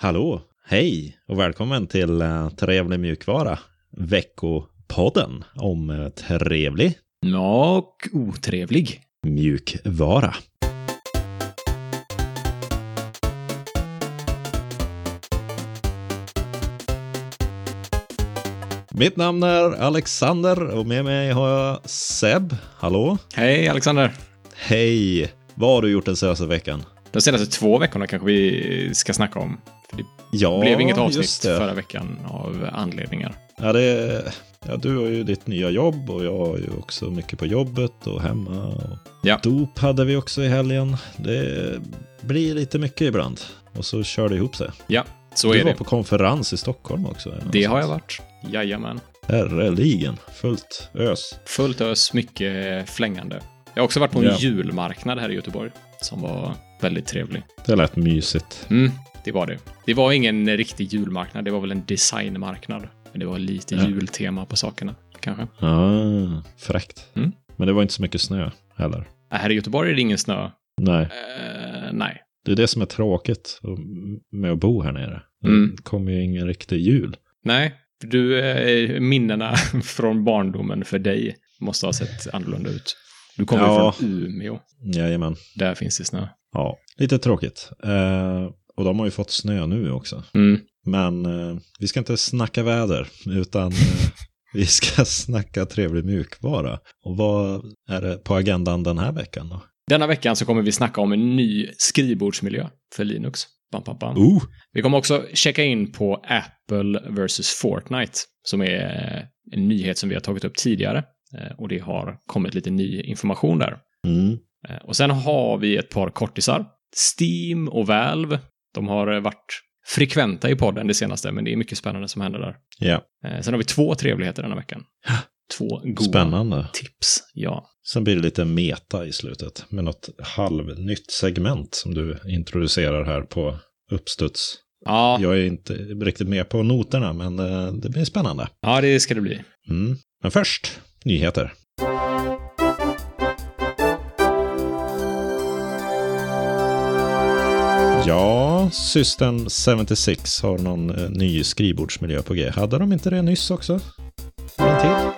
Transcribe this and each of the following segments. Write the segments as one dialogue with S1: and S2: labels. S1: Hallå, hej och välkommen till eh, Trevlig mjukvara, veckopodden om eh, trevlig
S2: Ja, och otrevlig.
S1: mjukvara. Mitt namn är Alexander och med mig har jag Seb. Hallå,
S2: Hej Alexander.
S1: hej. Vad har du gjort den senaste veckan?
S2: De senaste två veckorna kanske vi ska snacka om. För det
S1: Ja,
S2: blev inget avsnitt
S1: just det.
S2: förra veckan av anledningar.
S1: Ja, det, ja, du har ju ditt nya jobb och jag har ju också mycket på jobbet och hemma. Och
S2: Ja.
S1: Dop hade vi också i helgen. Det blir lite mycket ibland. Och så kör det ihop sig.
S2: Ja, så
S1: du
S2: är
S1: var
S2: det.
S1: på konferens i Stockholm också. eller
S2: Det
S1: något
S2: har jag
S1: sånt.
S2: varit. Jajamän.
S1: Herreligen, fullt ös.
S2: Fullt ös, mycket flängande. Jag har också varit på en
S1: Ja.
S2: julmarknad här i Göteborg som var väldigt trevlig.
S1: Det lät mysigt.
S2: Mm, det var det. Det var ingen riktig julmarknad, det var väl en designmarknad. Men det var lite
S1: Ja.
S2: jultema på sakerna, kanske.
S1: Ah, fräckt.
S2: Mm.
S1: Men det var inte så mycket snö heller.
S2: Äh, Här i Göteborg är det ingen snö.
S1: Nej,
S2: Eh, nej.
S1: det är det som är tråkigt om- med att bo här nere. Det
S2: Mm.
S1: kommer ju ingen riktig jul.
S2: Nej, du, eh, minnena från barndomen för dig måste ha sett annorlunda ut. Du kommer
S1: Ja.
S2: ju från Umeå.
S1: Jajamän.
S2: Där finns det snö.
S1: Ja, lite tråkigt. Eh, och de har ju fått snö nu också.
S2: Mm.
S1: Men eh, vi ska inte snacka väder, utan eh, vi ska snacka trevlig mjukvara. Och vad är det på agendan den här veckan då?
S2: Denna veckan så kommer vi snacka om en ny skrivbordsmiljö för Linux. Bam, bam, bam.
S1: Oh!
S2: Vi kommer också checka in på Apple vs Fortnite, som är en nyhet som vi har tagit upp tidigare. Eh, Och det har kommit lite ny information där.
S1: Mm.
S2: Eh, Och sen har vi ett par kortisar. Steam och Valve. De har eh, varit frekventa i podden det senaste, men det är mycket spännande som händer där.
S1: Ja,
S2: Eh, Sen har vi två trevligheter denna veckan. Två goda
S1: spännande.
S2: tips. Ja.
S1: Sen blir det lite meta i slutet med något halvnytt segment som du introducerar här på uppstuds.
S2: Ja, ja.
S1: Jag är inte riktigt med på noterna, men eh, det blir spännande.
S2: det ska det bli.
S1: Mm. Men först, nyheter. Ja, System 76 har någon eh, ny skrivbordsmiljö på G. Hade de inte det nyss också? En till?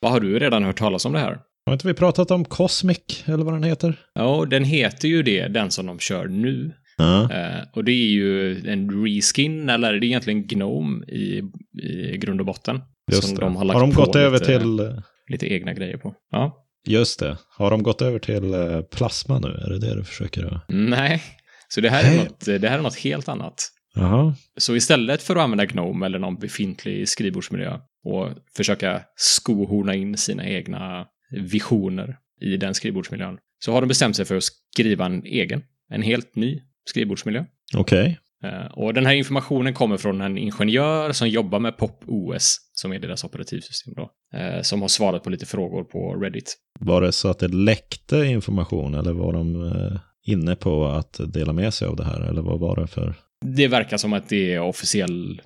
S2: Vad har du redan hört talas om det här?
S1: Har inte vi pratat om Cosmic, eller vad den heter?
S2: Ja, den heter ju det, den som de kör nu.
S1: Ja.
S2: Eh, och det är ju en reskin, eller det är egentligen Gnome i, i grund och botten.
S1: Just
S2: som
S1: det.
S2: de har, lagt
S1: har de
S2: på
S1: gått över
S2: lite,
S1: till... eh,
S2: Lite egna grejer på. Ja.
S1: Just det. Har de gått över till eh, plasma nu? Är det det du försöker? att-
S2: Nej. Så det här, är
S1: Nej.
S2: något, det här är något helt annat.
S1: Jaha.
S2: Så istället för att använda Gnome eller någon befintlig skrivbordsmiljö och försöka skohorna in sina egna visioner i den skrivbordsmiljön så har de bestämt sig för att skriva en egen, en helt ny skrivbordsmiljö.
S1: Okej.
S2: Eh, Och den här informationen kommer från en ingenjör som jobbar med Pop OS, som är deras operativsystem då, eh, som har svarat på lite frågor på Reddit.
S1: Var det så att det läckte information eller var de eh, inne på att dela med sig av det här? Eller vad var det för?
S2: Det verkar som att det är officiell,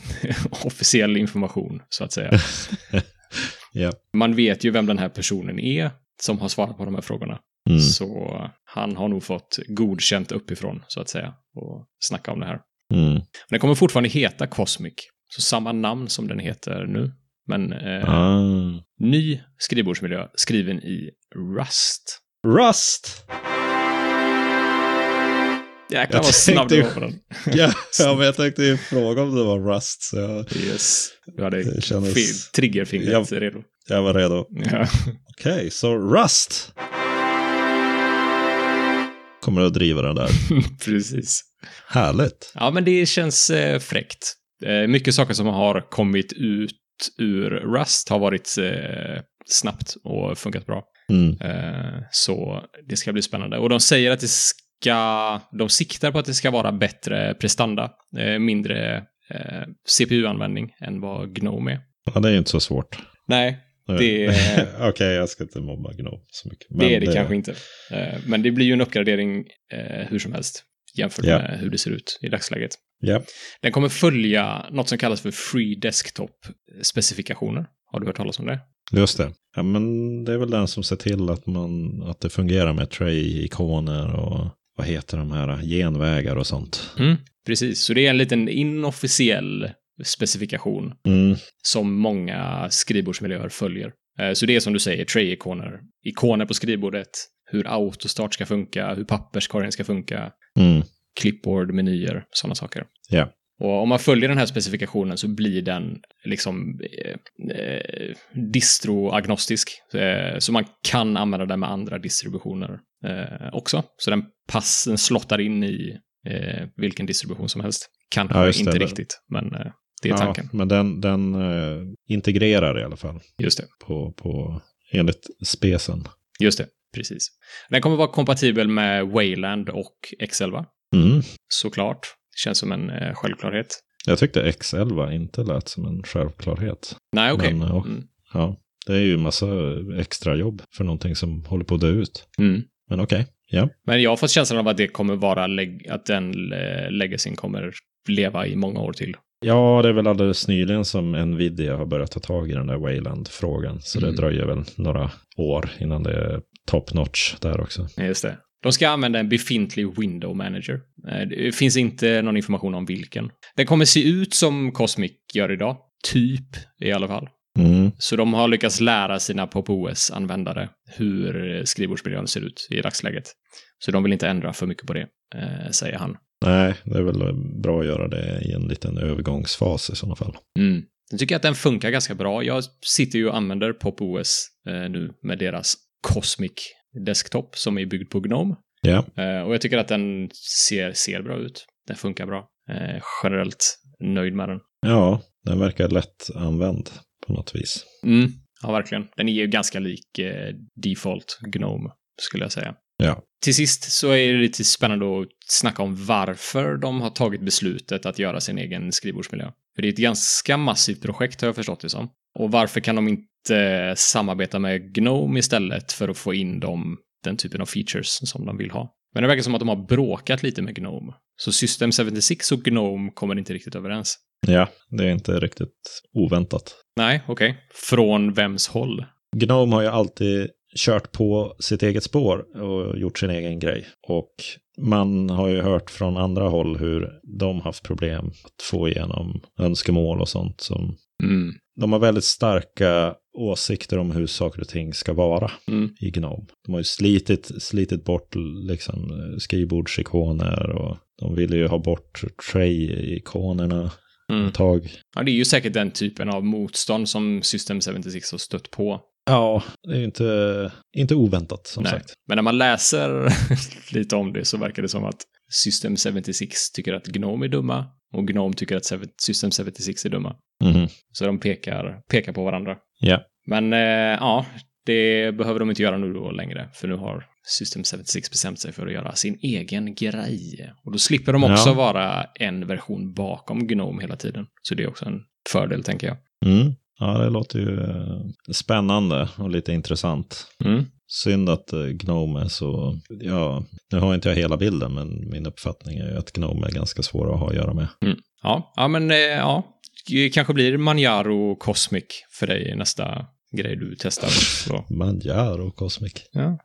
S2: officiell information, så att säga.
S1: Ja.
S2: Man vet ju vem den här personen är som har svarat på de här frågorna.
S1: Mm.
S2: Så han har nog fått godkänt uppifrån, så att säga, och snacka om det här.
S1: Mm.
S2: Den kommer fortfarande heta Cosmic, så samma namn som den heter nu. Men eh,
S1: Ah.
S2: ny skrivbordsmiljö skriven i Rust.
S1: Rust!
S2: Jäklar
S1: Jag
S2: vad snabb
S1: tänkte
S2: du
S1: ju-
S2: var på den.
S1: Ja, ja, men jag tänkte ju fråga om det var Rust. Så jag,
S2: Yes. Du hade
S1: Det kändes-
S2: fi- triggerfingret redo.
S1: jag var redo.
S2: Ja.
S1: Okej, så Rust! Kommer att driva den där.
S2: Precis.
S1: Härligt.
S2: Ja, men det känns eh, fräckt. Eh, mycket saker som har kommit ut ur Rust har varit eh, snabbt och funkat bra.
S1: Mm.
S2: Eh, så det ska bli spännande. Och de säger att det ska, de siktar på att det ska vara bättre prestanda, eh, mindre eh, CPU-användning än vad Gnome är.
S1: Ja, det är ju inte så svårt.
S2: Nej, Det-
S1: Okej, jag ska inte mobba Gnome så mycket. Men
S2: det är det, kanske inte. Eh, men det blir ju en uppgradering eh, hur som helst jämfört
S1: Ja.
S2: med hur det ser ut i dagsläget.
S1: Ja.
S2: Den kommer följa något som kallas för Free Desktop-specifikationer. Har du hört talas om det?
S1: Just det. Ja, men det är väl den som ser till att, man, att det fungerar med tray-ikoner och vad heter de här, genvägar och sånt.
S2: Mm, precis, så det är en liten inofficiell specifikation
S1: Mm,
S2: som många skrivbordsmiljöer följer. Eh, Så det är som du säger, tray-ikoner, ikoner på skrivbordet, hur autostart ska funka, hur papperskorgen ska funka,
S1: mm,
S2: clipboard, menyer, sådana saker.
S1: Ja.
S2: Och om man följer den här specifikationen så blir den liksom eh, eh, distroagnostisk. Eh, så man kan använda den med andra distributioner eh, också. Så den, pass, den slottar in i eh, vilken distribution som helst. Kanske
S1: Ja, just det.
S2: inte riktigt, men eh, det är
S1: ja,
S2: tanken.
S1: men den, den eh, integrerar i alla fall
S2: Just det.
S1: på, på, enligt spesen.
S2: Just det, precis. Den kommer vara kompatibel med Wayland och X11,
S1: Mm.
S2: såklart. Känns som en eh, självklarhet.
S1: Jag tyckte X11 inte lät som en självklarhet.
S2: Nej, okej.
S1: Men, ja.
S2: Mm.
S1: Ja, det är ju massa extra jobb för någonting som håller på att dö ut.
S2: Mm.
S1: Men okej, ja.
S2: Men jag har fått känslan av att det kommer vara, leg- att den eh, legacyn kommer leva i många år till.
S1: Ja, det är väl alldeles nyligen som Nvidia har börjat ta tag i den där Wayland-frågan. Så
S2: Mm.
S1: det dröjer väl några år innan det är top notch där också.
S2: Just det. De ska använda en befintlig window manager. Eh, Det finns inte någon information om vilken. Den kommer se ut som Cosmic gör idag. Typ, i alla fall.
S1: Mm.
S2: Så de har lyckats lära sina PopOS-användare hur skrivbordsmiljön ser ut i dagsläget. Så de vill inte ändra för mycket på det, eh, säger han.
S1: Nej, det är väl bra att göra det i en liten övergångsfas i sådana fall.
S2: Mm. Jag tycker att den funkar ganska bra. Jag sitter ju och använder PopOS eh, nu med deras Cosmic Desktop som är byggd på Gnome.
S1: Ja,
S2: Eh, och jag tycker att den ser, ser bra ut. Den funkar bra. Eh, generellt nöjd med den.
S1: ja den verkar lätt använd på något vis.
S2: Mm. Ja, verkligen. Den är ju ganska lik eh, default Gnome, skulle jag säga.
S1: Ja.
S2: Till sist så är det lite spännande att snacka om varför de har tagit beslutet att göra sin egen skrivbordsmiljö. För det är ett ganska massivt projekt har jag förstått det som. Och varför kan de inte samarbeta med Gnome istället för att få in de, den typen av features som de vill ha? Men det verkar som att de har bråkat lite med Gnome. Så System 76 och Gnome kommer inte riktigt överens.
S1: Ja, det är inte riktigt oväntat.
S2: Nej, okej. Från vems håll?
S1: Gnome har ju alltid kört på sitt eget spår och gjort sin egen grej. Och man har ju hört från andra håll hur de haft problem att få igenom önskemål och sånt som
S2: Mm.
S1: de har väldigt starka åsikter om hur saker och ting ska vara
S2: Mm.
S1: i Gnome. De har ju slitit, slitit bort liksom, eh, skrivbordsikoner och de ville ju ha bort tray-ikonerna
S2: Mm.
S1: ett tag.
S2: Ja, det är ju säkert den typen av motstånd som System 76 har stött på.
S1: Ja, det är ju inte, inte oväntat som
S2: Nej.
S1: sagt.
S2: Men när man läser lite om det så verkar det som att System 76 tycker att Gnome är dumma och Gnome tycker att Sev- System 76 är dumma.
S1: Mhm.
S2: Så de pekar, pekar på varandra.
S1: Ja.
S2: Men eh, ja, det behöver de inte göra nu då längre, för nu har System 76 bestämt sig för att göra sin egen grej. Och då slipper de också
S1: Ja.
S2: vara en version bakom Gnome hela tiden. Så det är också en fördel, tänker jag.
S1: Mm. Ja, det låter ju eh, spännande och lite intressant.
S2: Mm.
S1: Synd att eh, Gnome är så, ja, nu har inte jag hela bilden, men min uppfattning är ju att Gnome är ganska svåra att ha att göra med.
S2: Ja, ja men eh, ja. Det kanske blir Manjaro och Cosmic för dig i nästa grej du testar. Då.
S1: Manjaro Cosmic.
S2: Ja.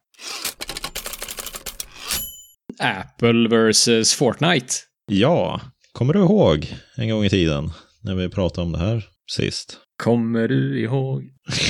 S2: Apple versus Fortnite.
S1: Ja, kommer du ihåg en gång i tiden när vi pratade om det här sist?
S2: Kommer du ihåg?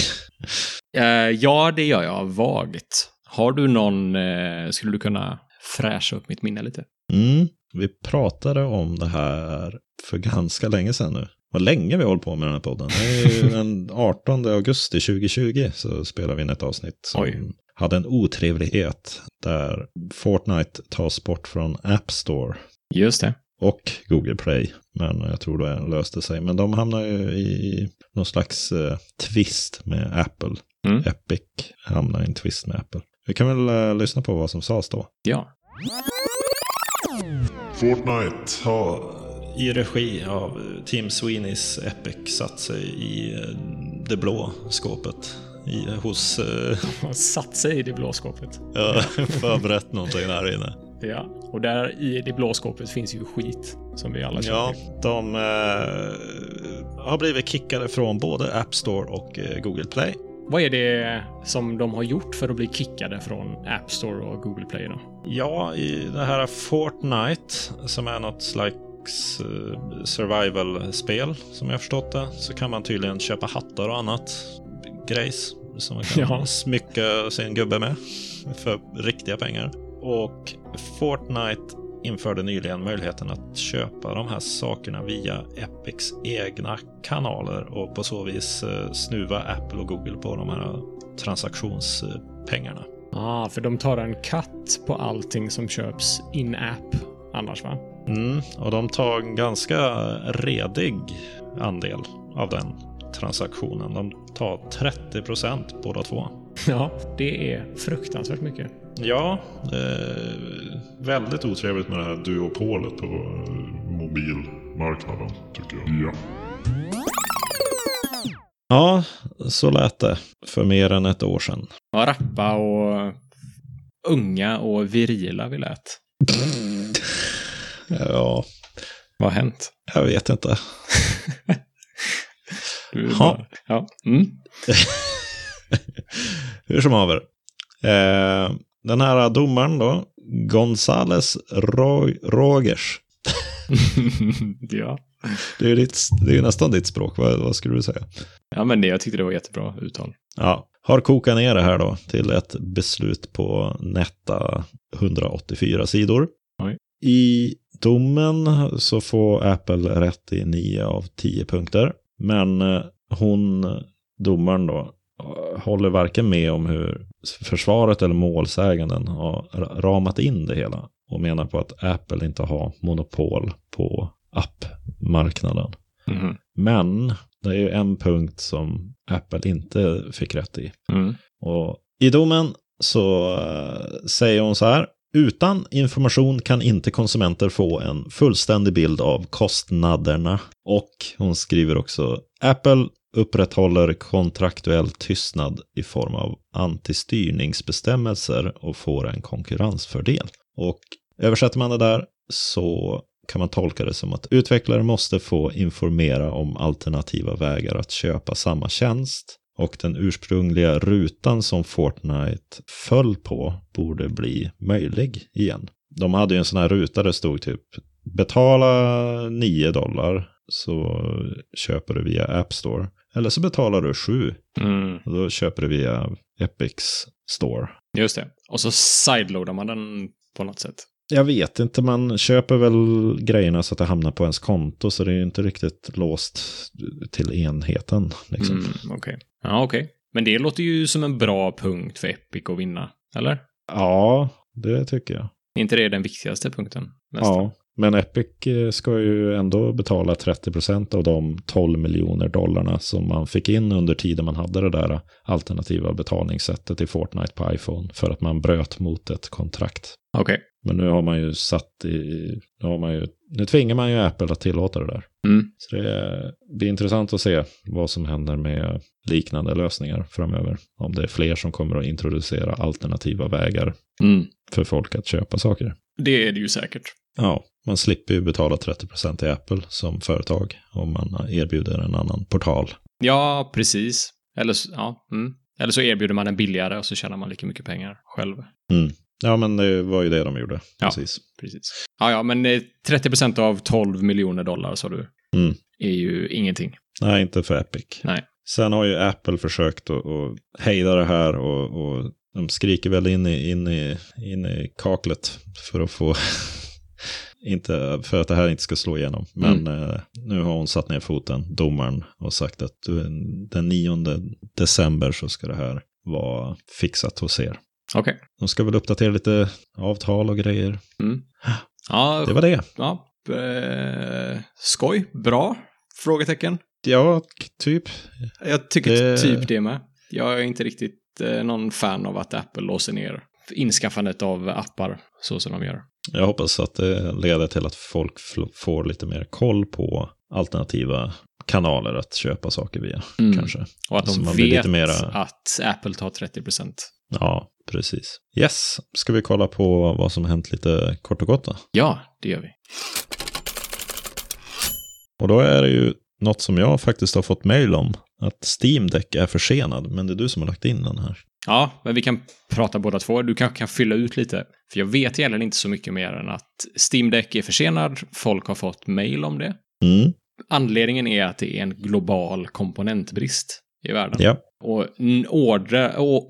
S2: Eh, ja, det gör jag vagt. Har du någon, eh, skulle du kunna fräscha upp mitt minne lite?
S1: Mm. Vi pratade om det här för ganska länge sedan nu. Vad länge vi har hållit på med den här podden. Det är ju den 18 augusti 2020 så spelade vi in ett avsnitt som
S2: Oj.
S1: hade en otrevlighet där Fortnite tas bort från App Store
S2: Just det.
S1: och Google Play. Men jag tror det löste sig. Men de hamnar ju i någon slags eh, tvist med Apple.
S2: Mm.
S1: Epic hamnar i en tvist med Apple. Vi kan väl eh, lyssna på vad som sades då.
S2: Ja.
S1: Fortnite har i regi av Tim Sweeneys Epic satt sig i eh, det blå skåpet. I, hos... eh,
S2: Man satt sig i det blå skåpet.
S1: Jag har förberett någonting där inne.
S2: Ja, och där i det blå skåpet finns ju skit som vi alla
S1: Ja, de eh, har blivit kickade från både App Store och eh, Google Play.
S2: Vad är det som de har gjort för att bli kickade från App Store och Google Play då?
S1: Ja, i det här Fortnite som är något slags eh, survival-spel som jag förstått det så kan man tydligen köpa hattar och annat grejs som man kan
S2: Ja.
S1: smycka sin gubbe med för riktiga pengar. Och Fortnite införde nyligen möjligheten att köpa de här sakerna via Epics egna kanaler och på så vis eh, snuva Apple och Google på de här transaktionspengarna.
S2: Ah, för de tar en katt på allting som köps in-app annars va?
S1: Mm, och de tar en ganska redig andel av den transaktionen. De tar 30 procent båda två.
S2: Ja, det är fruktansvärt mycket.
S1: Ja, eh, väldigt otrevligt med det här duopolet.
S3: på eh, mobilmarknaden, tycker jag. Ja.
S1: Ja, så lät det för mer än ett år sedan.
S2: Vad rappa och unga och virila vi lät.
S1: Ja,
S2: Vad har hänt?
S1: jag vet inte.
S2: Du
S1: Ja.
S2: bara, ja. Mm.
S1: Hur som haver. Eh, den här domaren då, Gonzales Ro- Rogers.
S2: ja.
S1: Det är ju ditt, det är ju nästan ditt språk, vad, vad skulle du säga?
S2: ja, men det, jag tyckte det var jättebra uttal.
S1: Ja, har kokat ner det här då till ett beslut på netta 184 sidor.
S2: Oj.
S1: I domen så får Apple rätt i 9 av 10 punkter. Men eh, hon, domaren då, eh, håller varken med om hur försvaret eller målsäganden har ra- ramat in det hela och menar på att Apple inte har monopol på appmarknaden.
S2: Mhm.
S1: Men det är ju en punkt som Apple inte fick rätt i.
S2: Mm.
S1: Och I domen så eh, säger hon så här. Utan information kan inte konsumenter få en fullständig bild av kostnaderna. Och hon skriver också Apple upprätthåller kontraktuell tystnad i form av antistyrningsbestämmelser och får en konkurrensfördel. Och översätter man det där så kan man tolka det som att utvecklare måste få informera om alternativa vägar att köpa samma tjänst och den ursprungliga rutan som Fortnite föll på borde bli möjlig igen. De hade ju en sån här ruta där det stod typ betala 9 dollar så köper du via App Store eller så betalar du 7
S2: Mm.
S1: och då köper du via Epics Store.
S2: Just det. Och så sideloadar man den på något sätt.
S1: Jag vet inte, man köper väl grejerna så att det hamnar på ens konto så det är ju inte riktigt låst till enheten. Liksom.
S2: Mm, okej. Ja, okej. Men det låter ju som en bra punkt för Epic att vinna, eller?
S1: Ja, det tycker jag.
S2: Är inte det den viktigaste punkten? Nästan.
S1: Ja, men Epic eh, ska ju ändå betala 30% av de 12 miljoner dollarna som man fick in under tiden man hade det där alternativa betalningssättet i Fortnite på iPhone för att man bröt mot ett kontrakt.
S2: Okej.
S1: Men nu har man ju satt i, nu, har man ju, nu tvingar man ju Apple att tillåta det där.
S2: Mm.
S1: Så det blir intressant att se vad som händer med liknande lösningar framöver. Om det är fler som kommer att introducera alternativa vägar
S2: Mm.
S1: för folk att köpa saker.
S2: Det är det ju säkert.
S1: Ja, man slipper ju betala 30% till Apple som företag om man erbjuder en annan portal.
S2: Ja, precis. Eller, s- ja, mm. Eller så erbjuder man den billigare och så tjänar man lika mycket pengar själv.
S1: Ja, men det var ju det de gjorde.
S2: Ja.
S1: Precis.
S2: Precis. Ja, ja, men eh, 30 procent av 12 miljoner dollar sa du.
S1: Mm.
S2: Är ju ingenting.
S1: Nej, inte för Epic.
S2: Nej.
S1: Sen har ju Apple försökt att, att hejda det här och, och de skriker väl in i, in, i, in i kaklet för att få inte, för att det här inte ska slå igenom. Men eh, nu har hon satt ner foten, domaren, och sagt att du, den 9 december så ska det här vara fixat hos er.
S2: Okej.
S1: De ska väl uppdatera lite avtal och grejer.
S2: Ja,
S1: Det var det.
S2: ja eh, skoj. Bra? Frågetecken.
S1: Ja, typ.
S2: Jag tycker
S1: Det-
S2: typ det med. Jag är inte riktigt eh, någon fan av att Apple låser ner inskaffandet av appar så som de gör.
S1: Jag hoppas att det leder till att folk fl- får lite mer koll på alternativa kanaler att köpa saker via,
S2: Mm.
S1: kanske.
S2: Och att
S1: Så
S2: de
S1: man blir
S2: vet
S1: lite mera-
S2: att Apple tar 30 procent.
S1: Ja, precis. Yes, ska vi kolla på vad som hänt lite kort och gott då?
S2: Ja, det gör vi.
S1: Och då är det ju något som jag faktiskt har fått mejl om. att Steam Deck är försenad, men det är du som har lagt in den här.
S2: Ja, men vi kan prata båda två. Du kanske kan fylla ut lite. För jag vet egentligen inte så mycket mer än att Steam Deck är försenad. Folk har fått mail om det.
S1: Mm,
S2: Anledningen är att det är en global komponentbrist i världen.
S1: ja.
S2: Och n- ordre... å-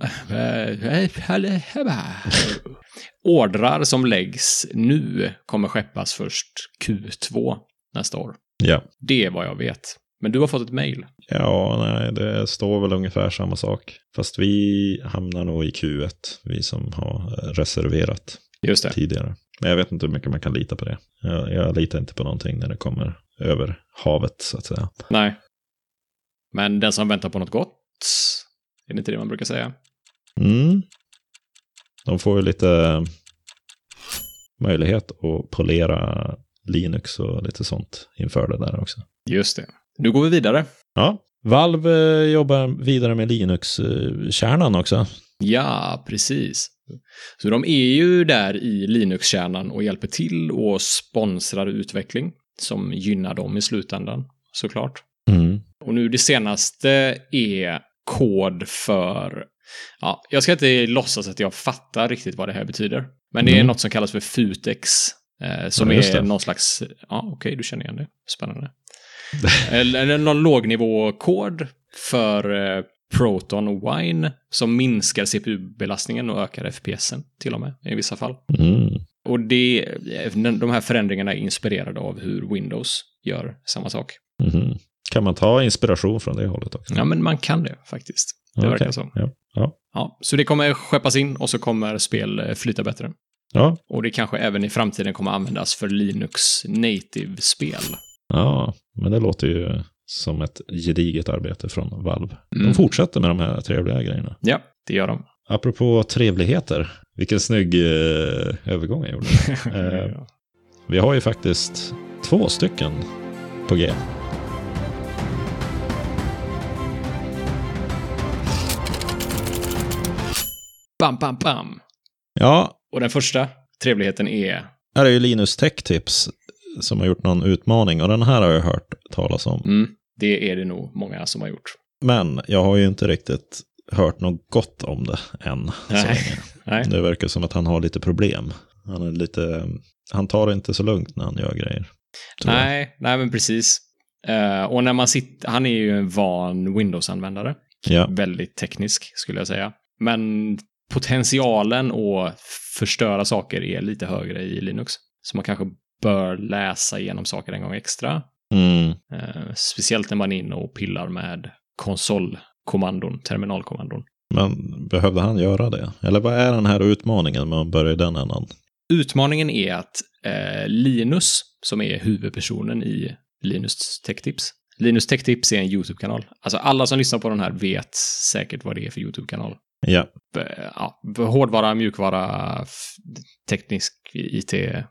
S2: Ordrar som läggs nu kommer skeppas först Q2 nästa år.
S1: Ja.
S2: Det är vad jag vet. Men du har fått ett mail.
S1: Ja, nej, det står väl ungefär samma sak. Fast vi hamnar nog i Q1, vi som har eh, reserverat
S2: Just det.
S1: tidigare. Men jag vet inte hur mycket man kan lita på det. Jag, jag litar inte på någonting när det kommer över havet, så att säga.
S2: Nej. Men den som väntar på något gott, är det inte det man brukar säga?
S1: Mm. De får ju lite eh, möjlighet att polera Linux och lite sånt inför det där också.
S2: Just det. Nu går vi vidare.
S1: Ja, Valve eh, jobbar vidare med Linux-kärnan också.
S2: Ja, precis. Så de är ju där i Linux-kärnan och hjälper till och sponsrar utveckling som gynnar dem i slutändan, såklart.
S1: Mm.
S2: Och nu det senaste är kod för... Ja, jag ska inte låtsas att jag fattar riktigt vad det här betyder. Men det är
S1: Mm.
S2: något som kallas för futex. Eh, som
S1: Ja, just
S2: är
S1: det.
S2: någon slags... Ja, okej, du känner igen det. Spännande. eller, eller någon lågnivåkod för eh, Proton och Wine som minskar CPU-belastningen och ökar FPSen till och med i vissa fall.
S1: Mm.
S2: Och det, de här förändringarna är inspirerade av hur Windows gör samma sak.
S1: Mhm. Kan man ta inspiration från det hållet också?
S2: Ja, men man kan det faktiskt. Det
S1: Okej.
S2: verkar så.
S1: Ja. Ja.
S2: Ja, så det kommer skeppas in och så kommer spel eh, flyta bättre.
S1: Ja.
S2: Och det kanske även i framtiden kommer användas för Linux native-spel.
S1: ja, men det låter ju som ett gediget arbete från Valve.
S2: Mm.
S1: De fortsätter med de här trevliga grejerna.
S2: Ja, det gör de.
S1: Apropå trevligheter, vilken snygg eh, övergång jag gjorde. Eh, vi har ju faktiskt två stycken på G.
S2: Bam, bam, bam!
S1: Ja,
S2: Och den första trevligheten är...
S1: här är ju Linus Tech Tips som har gjort någon utmaning och den här har jag hört talas om.
S2: Mm, det är det nog många som har gjort.
S1: Men jag har ju inte riktigt hört något gott om det än. så
S2: Nej.
S1: länge.
S2: Nej.
S1: Det verkar som att han har lite problem. Han, är lite, han tar det inte så lugnt när han gör grejer. tror jag.
S2: Nej, nej men precis. Eh, och när man sitter, han är ju en van Windows-användare.
S1: Ja.
S2: Väldigt teknisk skulle jag säga. Men potentialen att förstöra saker är lite högre i Linux. Så man kanske bör läsa igenom saker en gång extra.
S1: Mm.
S2: Eh, speciellt när man är inne och pillar med konsolkommandon, terminalkommandon.
S1: Men behövde han göra det? Eller vad är den här utmaningen med att börja i den ändan?
S2: Utmaningen är att eh, Linus, som är huvudpersonen i Linus Tech Tips, Linus Tech Tips är en YouTube-kanal. Alltså alla som lyssnar på den här vet säkert vad det är för YouTube-kanal.
S1: Ja.
S2: Eh, ja, hårdvara, mjukvara, f- teknisk IT, eh,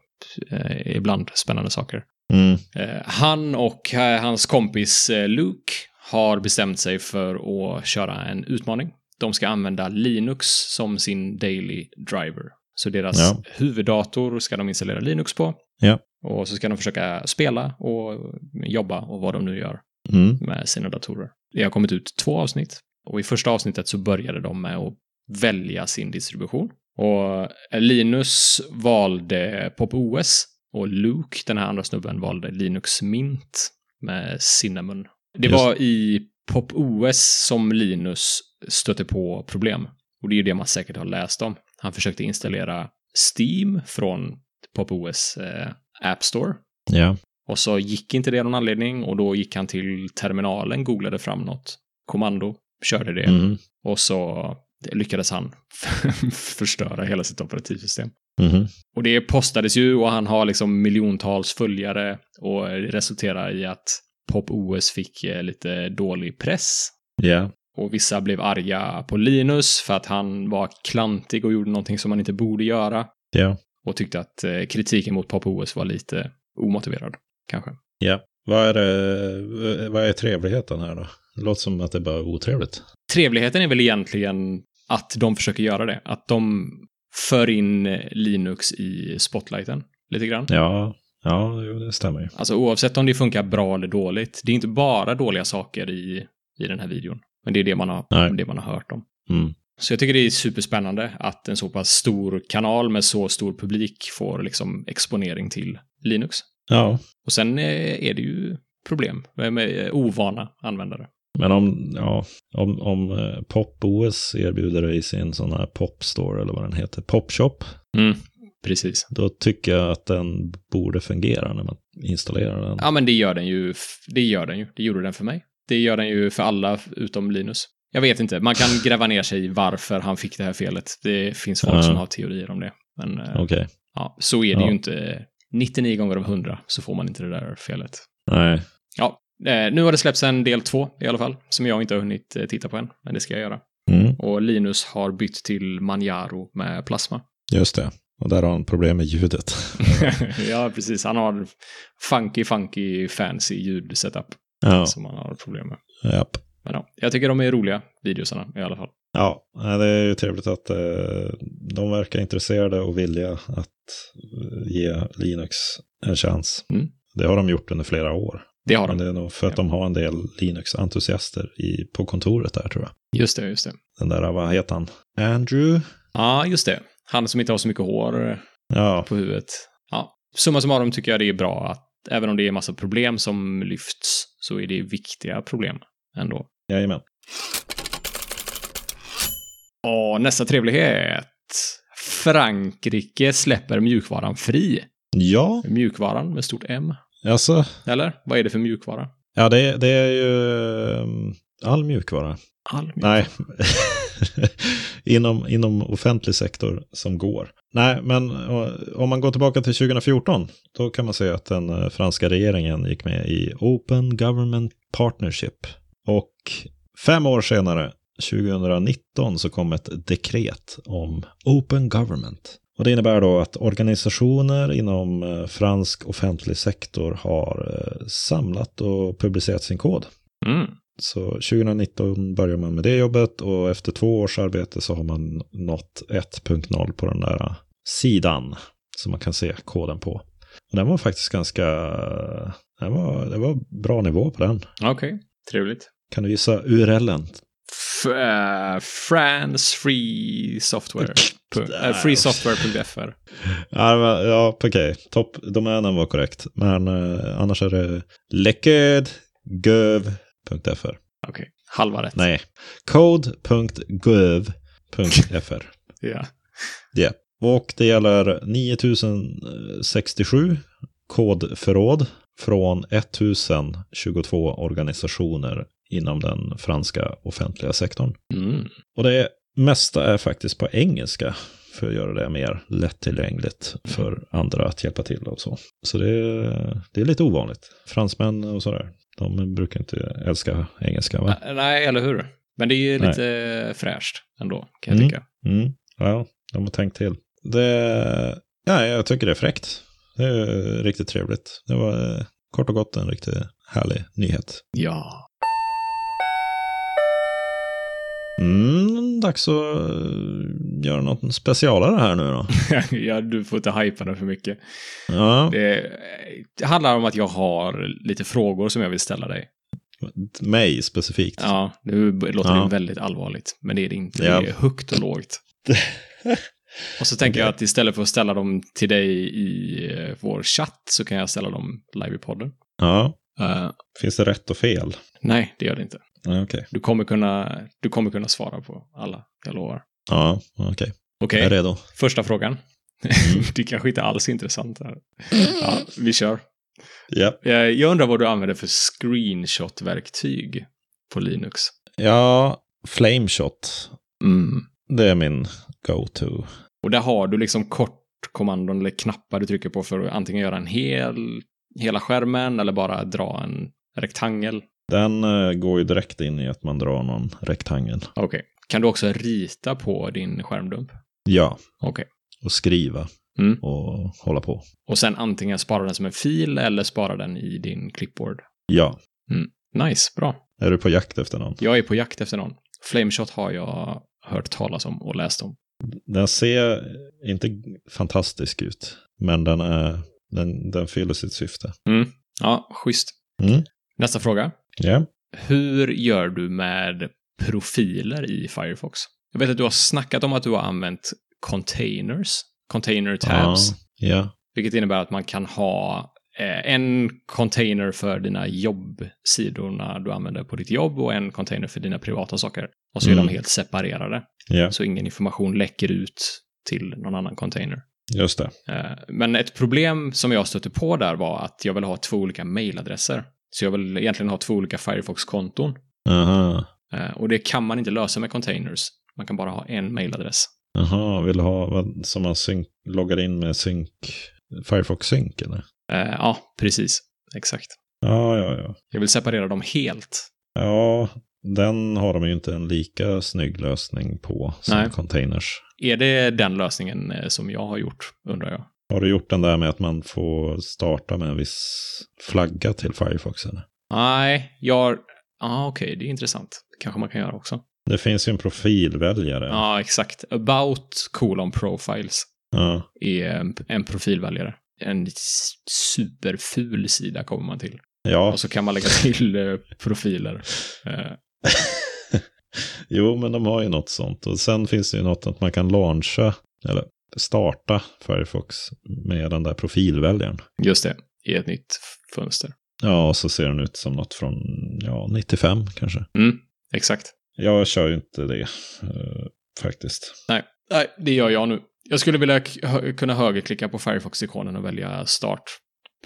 S2: ibland spännande saker.
S1: Mm.
S2: Eh, Han och eh, hans kompis eh, Luke har bestämt sig för att köra en utmaning. De ska använda Linux som sin daily driver. Så deras
S1: Ja.
S2: huvuddator ska de installera Linux på.
S1: Ja.
S2: Och så ska de försöka spela och jobba och vad de nu gör
S1: Mm.
S2: med sina datorer. Det har kommit ut två avsnitt och i första avsnittet så började de med att välja sin distribution. Och eh, Linus valde PopOS och Luke, den här andra snubben, valde Linux Mint med Cinnamon. Det
S1: Just.
S2: var i PopOS som Linus stötte på problem. Och det är ju det man säkert har läst om. Han försökte installera Steam från PopOS eh, App Store.
S1: Ja.
S2: Och så gick inte det av någon anledning och då gick han till terminalen, googlade fram något kommando, körde det
S1: Mm.
S2: och så lyckades han förstöra hela sitt operativsystem.
S1: Mhm.
S2: Och det postades ju och han har liksom miljontals följare och det resulterar i att PopOS fick eh, lite dålig press.
S1: Ja.
S2: Och vissa blev arga på Linus för att han var klantig och gjorde någonting som han inte borde göra.
S1: Ja.
S2: Och tyckte att eh, kritiken mot PopOS var lite omotiverad, kanske.
S1: Ja. Vad är, det, vad är trevligheten här då? Det låter som att det bara är otrevligt.
S2: trevligheten är väl egentligen att de försöker göra det. Att de för in eh, Linux i spotlighten lite grann.
S1: Ja. Ja, jo, det stämmer ju.
S2: Alltså oavsett om det funkar bra eller dåligt. Det är inte bara dåliga saker i i den här videon. Men det är det man har,
S1: Nej.
S2: det man har hört om.
S1: Mm.
S2: Så jag tycker det är superspännande att en så pass stor kanal med så stor publik får liksom exponering till Linux.
S1: Ja,
S2: Och sen eh, är det ju problem med eh, ovana användare.
S1: men om, ja, om, om eh, PopOS erbjuder dig sin sån här popstore eller vad den heter, popshop,
S2: Precis.
S1: då tycker jag att den borde fungera när man installerar den.
S2: Ja, men det gör den ju. f- Det gör den ju. Det gjorde den för mig. Det gör den ju för alla utom Linus. Jag vet inte. Man kan gräva ner sig i varför han fick det här felet. Det finns folk
S1: Ja.
S2: som har teorier om det. Men eh,
S1: Okej,
S2: ja, så är det
S1: Ja.
S2: ju inte. 99 gånger av 100 så får man inte det där felet.
S1: nej,
S2: Ja, eh, nu har det släppts en del två i alla fall, som jag inte har hunnit eh, titta på än, men det ska jag göra.
S1: mm.
S2: Och Linus har bytt till Manjaro med plasma.
S1: just det. Och där har han problem med ljudet.
S2: ja, precis. Han har funky, funky, fancy ljudsetup
S1: ja,
S2: som han har problem med.
S1: japp.
S2: Men ja, jag tycker de är roliga, videosarna i alla fall.
S1: Ja, nej, det är ju trevligt att eh, de verkar intresserade och vilja att eh, ge Linux en chans.
S2: Mm.
S1: Det har de gjort under flera år.
S2: Det har
S1: Men
S2: de.
S1: det är nog för att de har en del Linux-entusiaster i, på kontoret där tror jag.
S2: Just det, just det.
S1: Den där, vad heter han? Andrew?
S2: Ja, just det. Han som inte har så mycket hår eh,
S1: Ja,
S2: på huvudet. Ja, summa summarum tycker jag det är bra att även om det är en massa problem som lyfts så är det viktiga problem ändå.
S1: jajamän.
S2: Och nästa trevlighet. Frankrike släpper mjukvaran fri.
S1: Ja,
S2: Mjukvaran med stort M.
S1: alltså.
S2: Eller? Vad är det för mjukvara?
S1: Ja, det, det är ju ehm, all mjukvara.
S2: All mjukvara.
S1: Nej. inom, inom offentlig sektor som går. Nej, men eh, om man går tillbaka till 2014, då kan man säga att den eh, franska regeringen gick med i Open Government Partnership. Och fem år senare, 2019, så kom ett dekret om Open Government. Och det innebär då att organisationer inom eh, fransk offentlig sektor har eh, samlat och publicerat sin kod.
S2: Mm.
S1: Så 2019 börjar man med det jobbet och efter två års arbete så har man nått 1.0 på den där sidan som man kan se koden på. Och den var faktiskt ganska, den var, det var bra nivå på den.
S2: Okej, trevligt.
S1: Kan du gissa URLen?
S2: F- eh, France Free Software. Pu- eh, Freesoftware.fr.
S1: Ja, det var- ja okej. Toppdomänen var korrekt. Men eh, annars är det lekedgöv.fr.
S2: Okej, halva rätt.
S1: Nej, code.gov.fr.
S2: Ja.
S1: Och det gäller 9067 kodförråd från 1022 organisationer inom den franska offentliga sektorn.
S2: Mm.
S1: Och det mesta är faktiskt på engelska för att göra det mer lättillgängligt för andra att hjälpa till och så. Så det är, det är lite ovanligt. Fransmän och sådär, de brukar inte älska engelska va?
S2: Eh, Nej, eller hur? Men det är
S1: Nej.
S2: lite fräscht ändå, kan jag
S1: Mm.
S2: tycka.
S1: Mm. Ja, de har tänkt till. Det, ja, jag tycker det är fräckt. Det är riktigt trevligt. Det var eh, kort och gott en riktigt härlig nyhet.
S2: Ja.
S1: Mm, dags att eh, göra något specialare här nu då.
S2: ja, du får inte hajpa den för mycket.
S1: Ja,
S2: Det, det handlar om att jag har lite frågor som jag vill ställa dig.
S1: mig specifikt.
S2: Ja, nu b- låter
S1: Ja.
S2: det väldigt allvarligt, men det är det inte.
S1: Ja.
S2: Det är högt och lågt. och så tänker jag att istället för att ställa dem till dig i eh, vår chatt så kan jag ställa dem live i podden.
S1: Ja,
S2: Eh,
S1: Finns det rätt och fel?
S2: nej, det gör det inte.
S1: Ja, Okej.
S2: Du kommer kunna, du kommer kunna svara på alla, jag lovar.
S1: Ja, okej.
S2: Okej,
S1: Jag är Mm. redo.
S2: första frågan. det kanske inte alls är intressant. Här. Ja, vi kör.
S1: Ja.
S2: Eh, Jag undrar vad du använder för screenshot-verktyg på Linux.
S1: ja, flameshot.
S2: Mm.
S1: Det är min go-to.
S2: Och där har du liksom kortkommandon eller knappar du trycker på för att antingen göra en hel, hela skärmen eller bara dra en rektangel.
S1: Den eh, går ju direkt in i att man drar någon rektangel.
S2: Okej. Kan du också rita på din skärmdump?
S1: Ja.
S2: Okej.
S1: Och skriva.
S2: Mm.
S1: Och hålla på.
S2: Och sen antingen spara den som en fil eller spara den i din clipboard.
S1: Ja.
S2: Nice, bra.
S1: Är du på jakt efter någon?
S2: Jag är på jakt efter någon. Flameshot har jag hört talas om och läst om.
S1: Den ser inte fantastisk ut. Men den, är, den, den fyller sitt syfte.
S2: Ja, schysst.
S1: Mm.
S2: Nästa fråga.
S1: Ja.
S2: Hur gör du med profiler i Firefox? Jag vet att du har snackat om att du har använt containers, container tabs,
S1: Ja, ja.
S2: vilket innebär att man kan ha eh, en container för dina jobbsidorna du använder på ditt jobb och en container för dina privata saker. Och så är
S1: Mm.
S2: de helt separerade,
S1: ja,
S2: så ingen information läcker ut till någon annan container.
S1: just det.
S2: Eh, Men ett problem som jag stötte på där var att jag vill ha två olika mailadresser. Så jag vill egentligen ha två olika Firefox-konton.
S1: Aha,
S2: Eh, Och det kan man inte lösa med containers. Man kan bara ha en mailadress.
S1: aha, vill du ha vad som man synk, loggar in med synk, Firefox synk eller?
S2: Eh, Ja, precis. Exakt.
S1: Ja, ja, ja.
S2: Jag vill separera dem helt.
S1: Ja, den har de ju inte en lika snygg lösning på som
S2: Nej.
S1: containers.
S2: Är det den lösningen eh, som jag har gjort, undrar jag.
S1: Har du gjort den där med att man får starta med en viss flagga till Firefox? Eller?
S2: Nej, jag... Ja, ah, okej, det är intressant. kanske man kan göra också.
S1: Det finns ju en profilväljare.
S2: Ja, exakt. About colon profiles.
S1: Ja,
S2: är en, en profilväljare. En s- superful sida kommer man till.
S1: ja.
S2: Och så kan man lägga till eh, profiler. Eh,
S1: jo, men de har ju något sånt. Och sen finns det ju något att man kan launcha, eller starta Firefox med den där profilväljaren.
S2: Just det, i ett nytt f- fönster.
S1: Ja, och så ser den ut som något från ja, 95 kanske.
S2: Exakt.
S1: Jag kör ju inte det eh, faktiskt.
S2: Nej, nej det gör jag nu. Jag skulle vilja k- hö- kunna högerklicka på Firefox-ikonen och välja start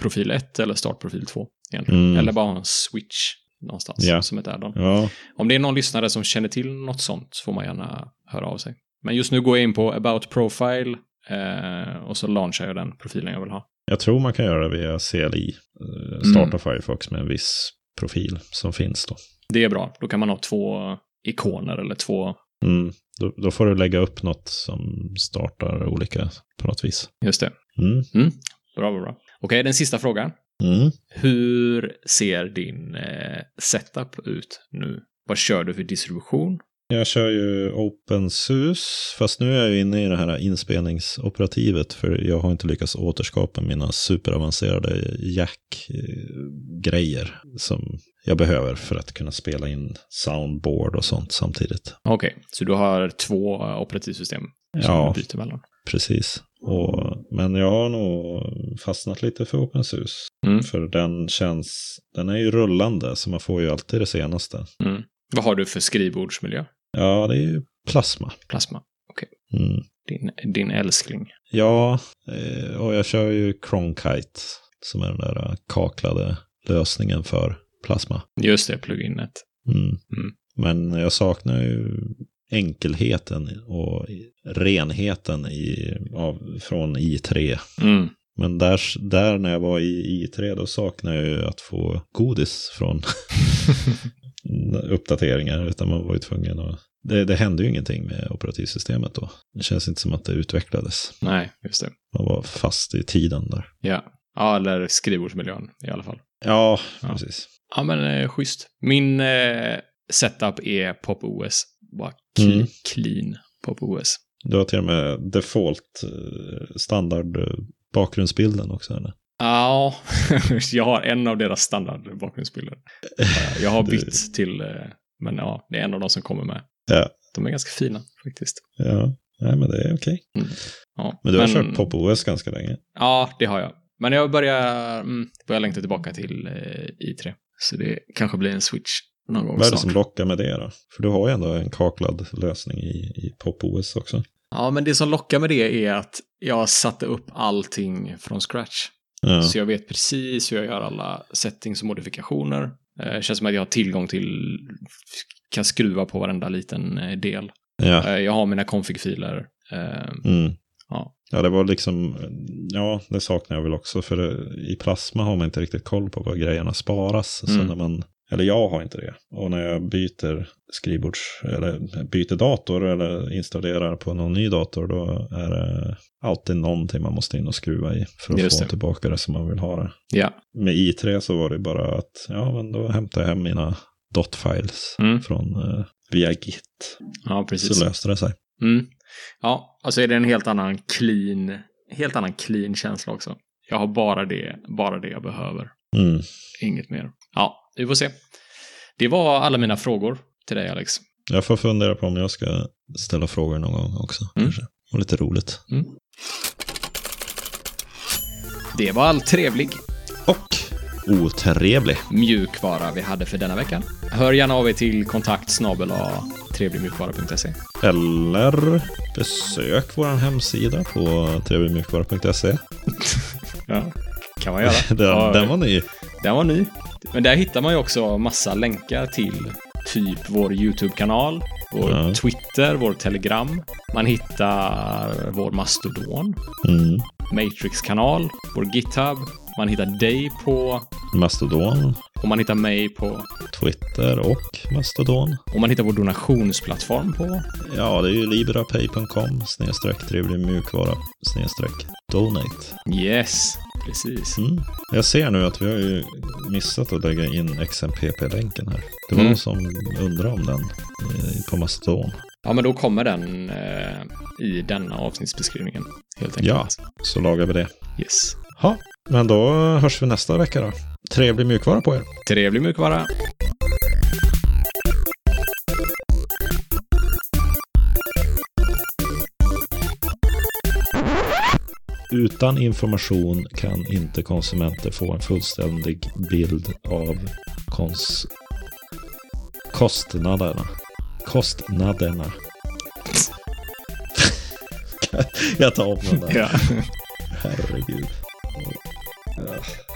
S2: profil 1 eller start profil 2. Egentligen.
S1: Mm.
S2: Eller bara ha en switch någonstans
S1: Ja.
S2: som ett add-on.
S1: Ja,
S2: Om det är någon lyssnare som känner till något sånt så får man gärna höra av sig. Men just nu går jag in på About Profile eh, och så launchar jag den profilen jag vill ha.
S1: jag tror man kan göra det via CLI. Eh, Starta Firefox med en viss profil som finns då.
S2: Det är bra. Då kan man ha två ikoner eller två...
S1: Mm. Då, då får du lägga upp något som startar olika på något vis.
S2: Just det.
S1: Mm.
S2: Bra, bra, bra. Okej, den sista frågan.
S1: Mm.
S2: Hur ser din eh, setup ut nu? Vad kör du för distribution?
S1: Jag kör ju OpenSUS, fast nu är jag ju inne i det här inspelningsoperativet för jag har inte lyckats återskapa mina superavancerade jack-grejer som jag behöver för att kunna spela in soundboard och sånt samtidigt.
S2: Okej, så du har två eh, operativsystem som
S1: Ja.
S2: du byter mellan.
S1: Precis. Och, men jag har nog fastnat lite för OpenSUS.
S2: Mm.
S1: För den känns, den är ju rullande så man får ju alltid det senaste.
S2: Vad har du för skrivbordsmiljö?
S1: Ja, det är ju plasma.
S2: Plasma.
S1: Mm.
S2: Din, din älskling.
S1: Ja, eh, och jag kör ju Cronkite som är den där eh, kaklade lösningen för plasma.
S2: Just det, pluginet.
S1: Mm.
S2: Mm.
S1: Men jag saknar ju enkelheten och renheten i, av, från i3.
S2: Mm.
S1: Men där, där när jag var i i3 då saknade jag ju att få godis från uppdateringar. Utan man var ju tvungen att... Det, det hände ju ingenting med operativsystemet då. Det känns inte som att det utvecklades.
S2: Nej, just det.
S1: Man var fast i tiden där.
S2: Ja. ja, eller skrivbordsmiljön i alla fall.
S1: Ja,
S2: Ja.
S1: precis.
S2: Ja, men eh, schysst. Min eh, setup är PopOS. Bara clean,
S1: Mm.
S2: clean PopOS.
S1: Du har till och med default eh, standard eh, bakgrundsbilden också eller?
S2: Ja, jag har en av deras standardbakgrundsbilder. Eh, Jag har
S1: Det-
S2: bytt till, eh, men ja, det är en av de som kommer med.
S1: Ja.
S2: De är ganska fina faktiskt.
S1: Ja, nej men det är okej.
S2: Ja,
S1: Men du har kört PopOS ganska länge.
S2: Ja, det har jag. Men jag börjar, mm, börjar längta tillbaka till eh, i3. Så det kanske blir en switch någon gång
S1: Vad är det
S2: snart.
S1: som lockar med det då? För du har ju ändå en kaklad lösning i, i PopOS också.
S2: Ja, men det som lockar med det är att jag satte upp allting från scratch.
S1: Ja,
S2: Så jag vet precis hur jag gör alla settings och modifikationer. Eh, känns som att jag har tillgång till, kan skruva på varenda liten eh, del.
S1: ja.
S2: Eh, jag har mina config-filer. Eh,
S1: Ah. Mm.
S2: Ja.
S1: ja det var liksom, ja det saknar jag väl också. För eh, i Plasma har man inte riktigt koll på var grejerna sparas.
S2: Mm.
S1: Så när man, eller jag har inte det. Och när jag byter skrivbords, eller byter dator eller installerar på någon ny dator. Då är det alltid någonting man måste in och skruva i för att
S2: Just
S1: få
S2: det.
S1: tillbaka det som man vill ha det.
S2: ja,
S1: med i3 så var det bara att ja, men då hämtar jag hem mina dot-files
S2: Mm.
S1: från eh, via git.
S2: ja, precis.
S1: Så löste det sig.
S2: Mm. Ja, alltså är det en helt annan clean, helt annan clean känsla också. Jag har bara det, bara det jag behöver.
S1: Mm.
S2: Inget mer. Ja, vi får se. Det var alla mina frågor till dig, Alex.
S1: Jag får fundera på om jag ska ställa frågor någon gång också.
S2: Mm.
S1: Kanske. Och lite roligt.
S2: Det var all trevlig
S1: Och otrevlig.
S2: mjukvara vi hade för denna veckan. Hör gärna av er till kontakt snabel trevligmjukvara.se.
S1: Eller besök vår hemsida på trevligmjukvara.se.
S2: Ja, kan man göra.
S1: Den,
S2: Ja,
S1: den var ny.
S2: Den var ny. Men där hittar man ju också massa länkar till typ vår YouTube-kanal, vår
S1: Ja.
S2: Twitter, vår Telegram. Man hittar vår Mastodon,
S1: Mm.
S2: Matrix-kanal, vår GitHub. Man hittar dig på
S1: Mastodon,
S2: och man hittar mig på
S1: Twitter och Mastodon.
S2: och man hittar vår donationsplattform på.
S1: Ja, det är ju librapay.com snedstreck trevlig mjukvara snedstreck donate.
S2: Yes, precis.
S1: Mm. Jag ser nu att vi har ju missat att lägga in XMPP-länken här. Det var
S2: Mm.
S1: någon som undrade om den eh, på Mastodon.
S2: Ja, men då kommer den eh, i denna avsnittsbeskrivningen helt enkelt.
S1: Ja. Så lagar vi det.
S2: Yes.
S1: Ja, men då hörs vi nästa vecka då. Trevlig mjukvara på er.
S2: Trevlig mjukvara.
S1: Utan information kan inte konsumenter få en fullständig bild av kons... kostnaderna. Kostnaderna. Jag tar om den där.
S2: Ja.
S1: Herregud. Ja.